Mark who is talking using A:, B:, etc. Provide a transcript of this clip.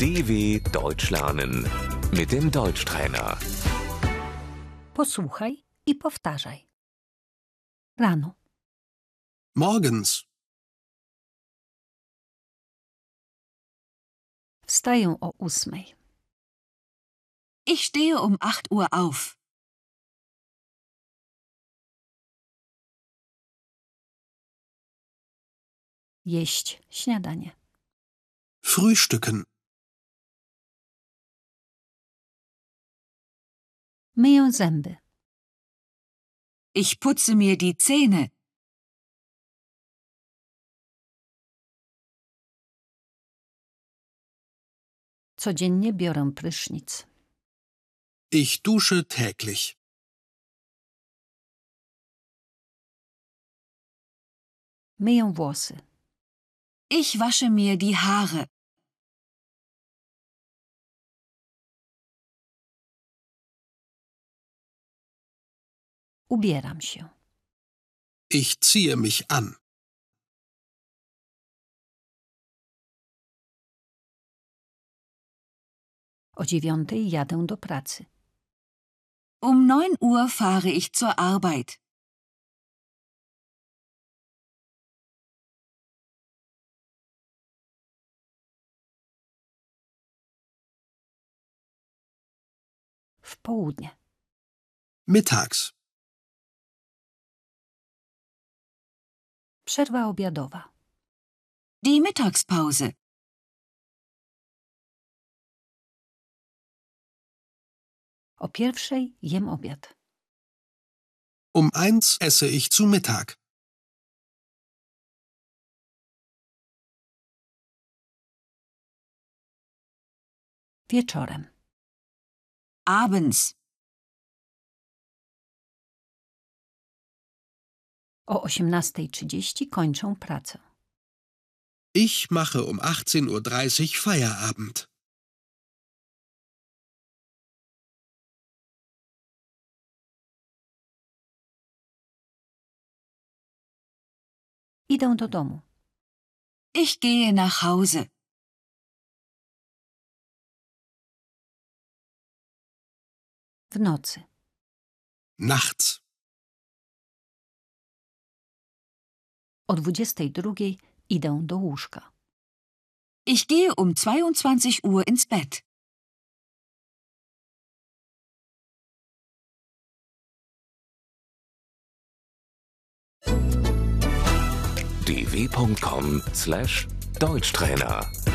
A: DW Deutsch lernen mit dem Deutschtrainer.
B: Posłuchaj i powtarzaj. Rano,
C: Morgens,
B: wstaję o ósmej.
D: Ich stehe um 8 Uhr auf.
B: Jeść śniadanie.
C: Frühstücken,
B: Myję zęby.
D: Ich putze mir die Zähne.
B: Codziennie biorę prysznic.
C: ich dusche täglich.
B: Myję włosy.
D: Ich wasche mir die Haare.
B: Ubieram się.
C: Ich ziehe mich an.
B: O dziewiątej jadę do pracy.
D: Um 9 Uhr fahre ich zur Arbeit.
B: W południe.
C: Mittags,
B: Przerwa obiadowa.
D: Die Mittagspause.
B: O pierwszej jem obiad.
C: um eins esse ich zu Mittag.
B: Wieczorem.
D: Abends.
B: O 18.30 kończę pracę.
C: Ich mache um 18.30 Uhr Feierabend.
B: Idę do domu.
D: Ich gehe nach Hause.
B: W nocy.
C: Nachts,
B: O 22.00 idę do łóżka.
D: Ich gehe um 22 Uhr ins Bett.
A: dw.com/deutschtrainer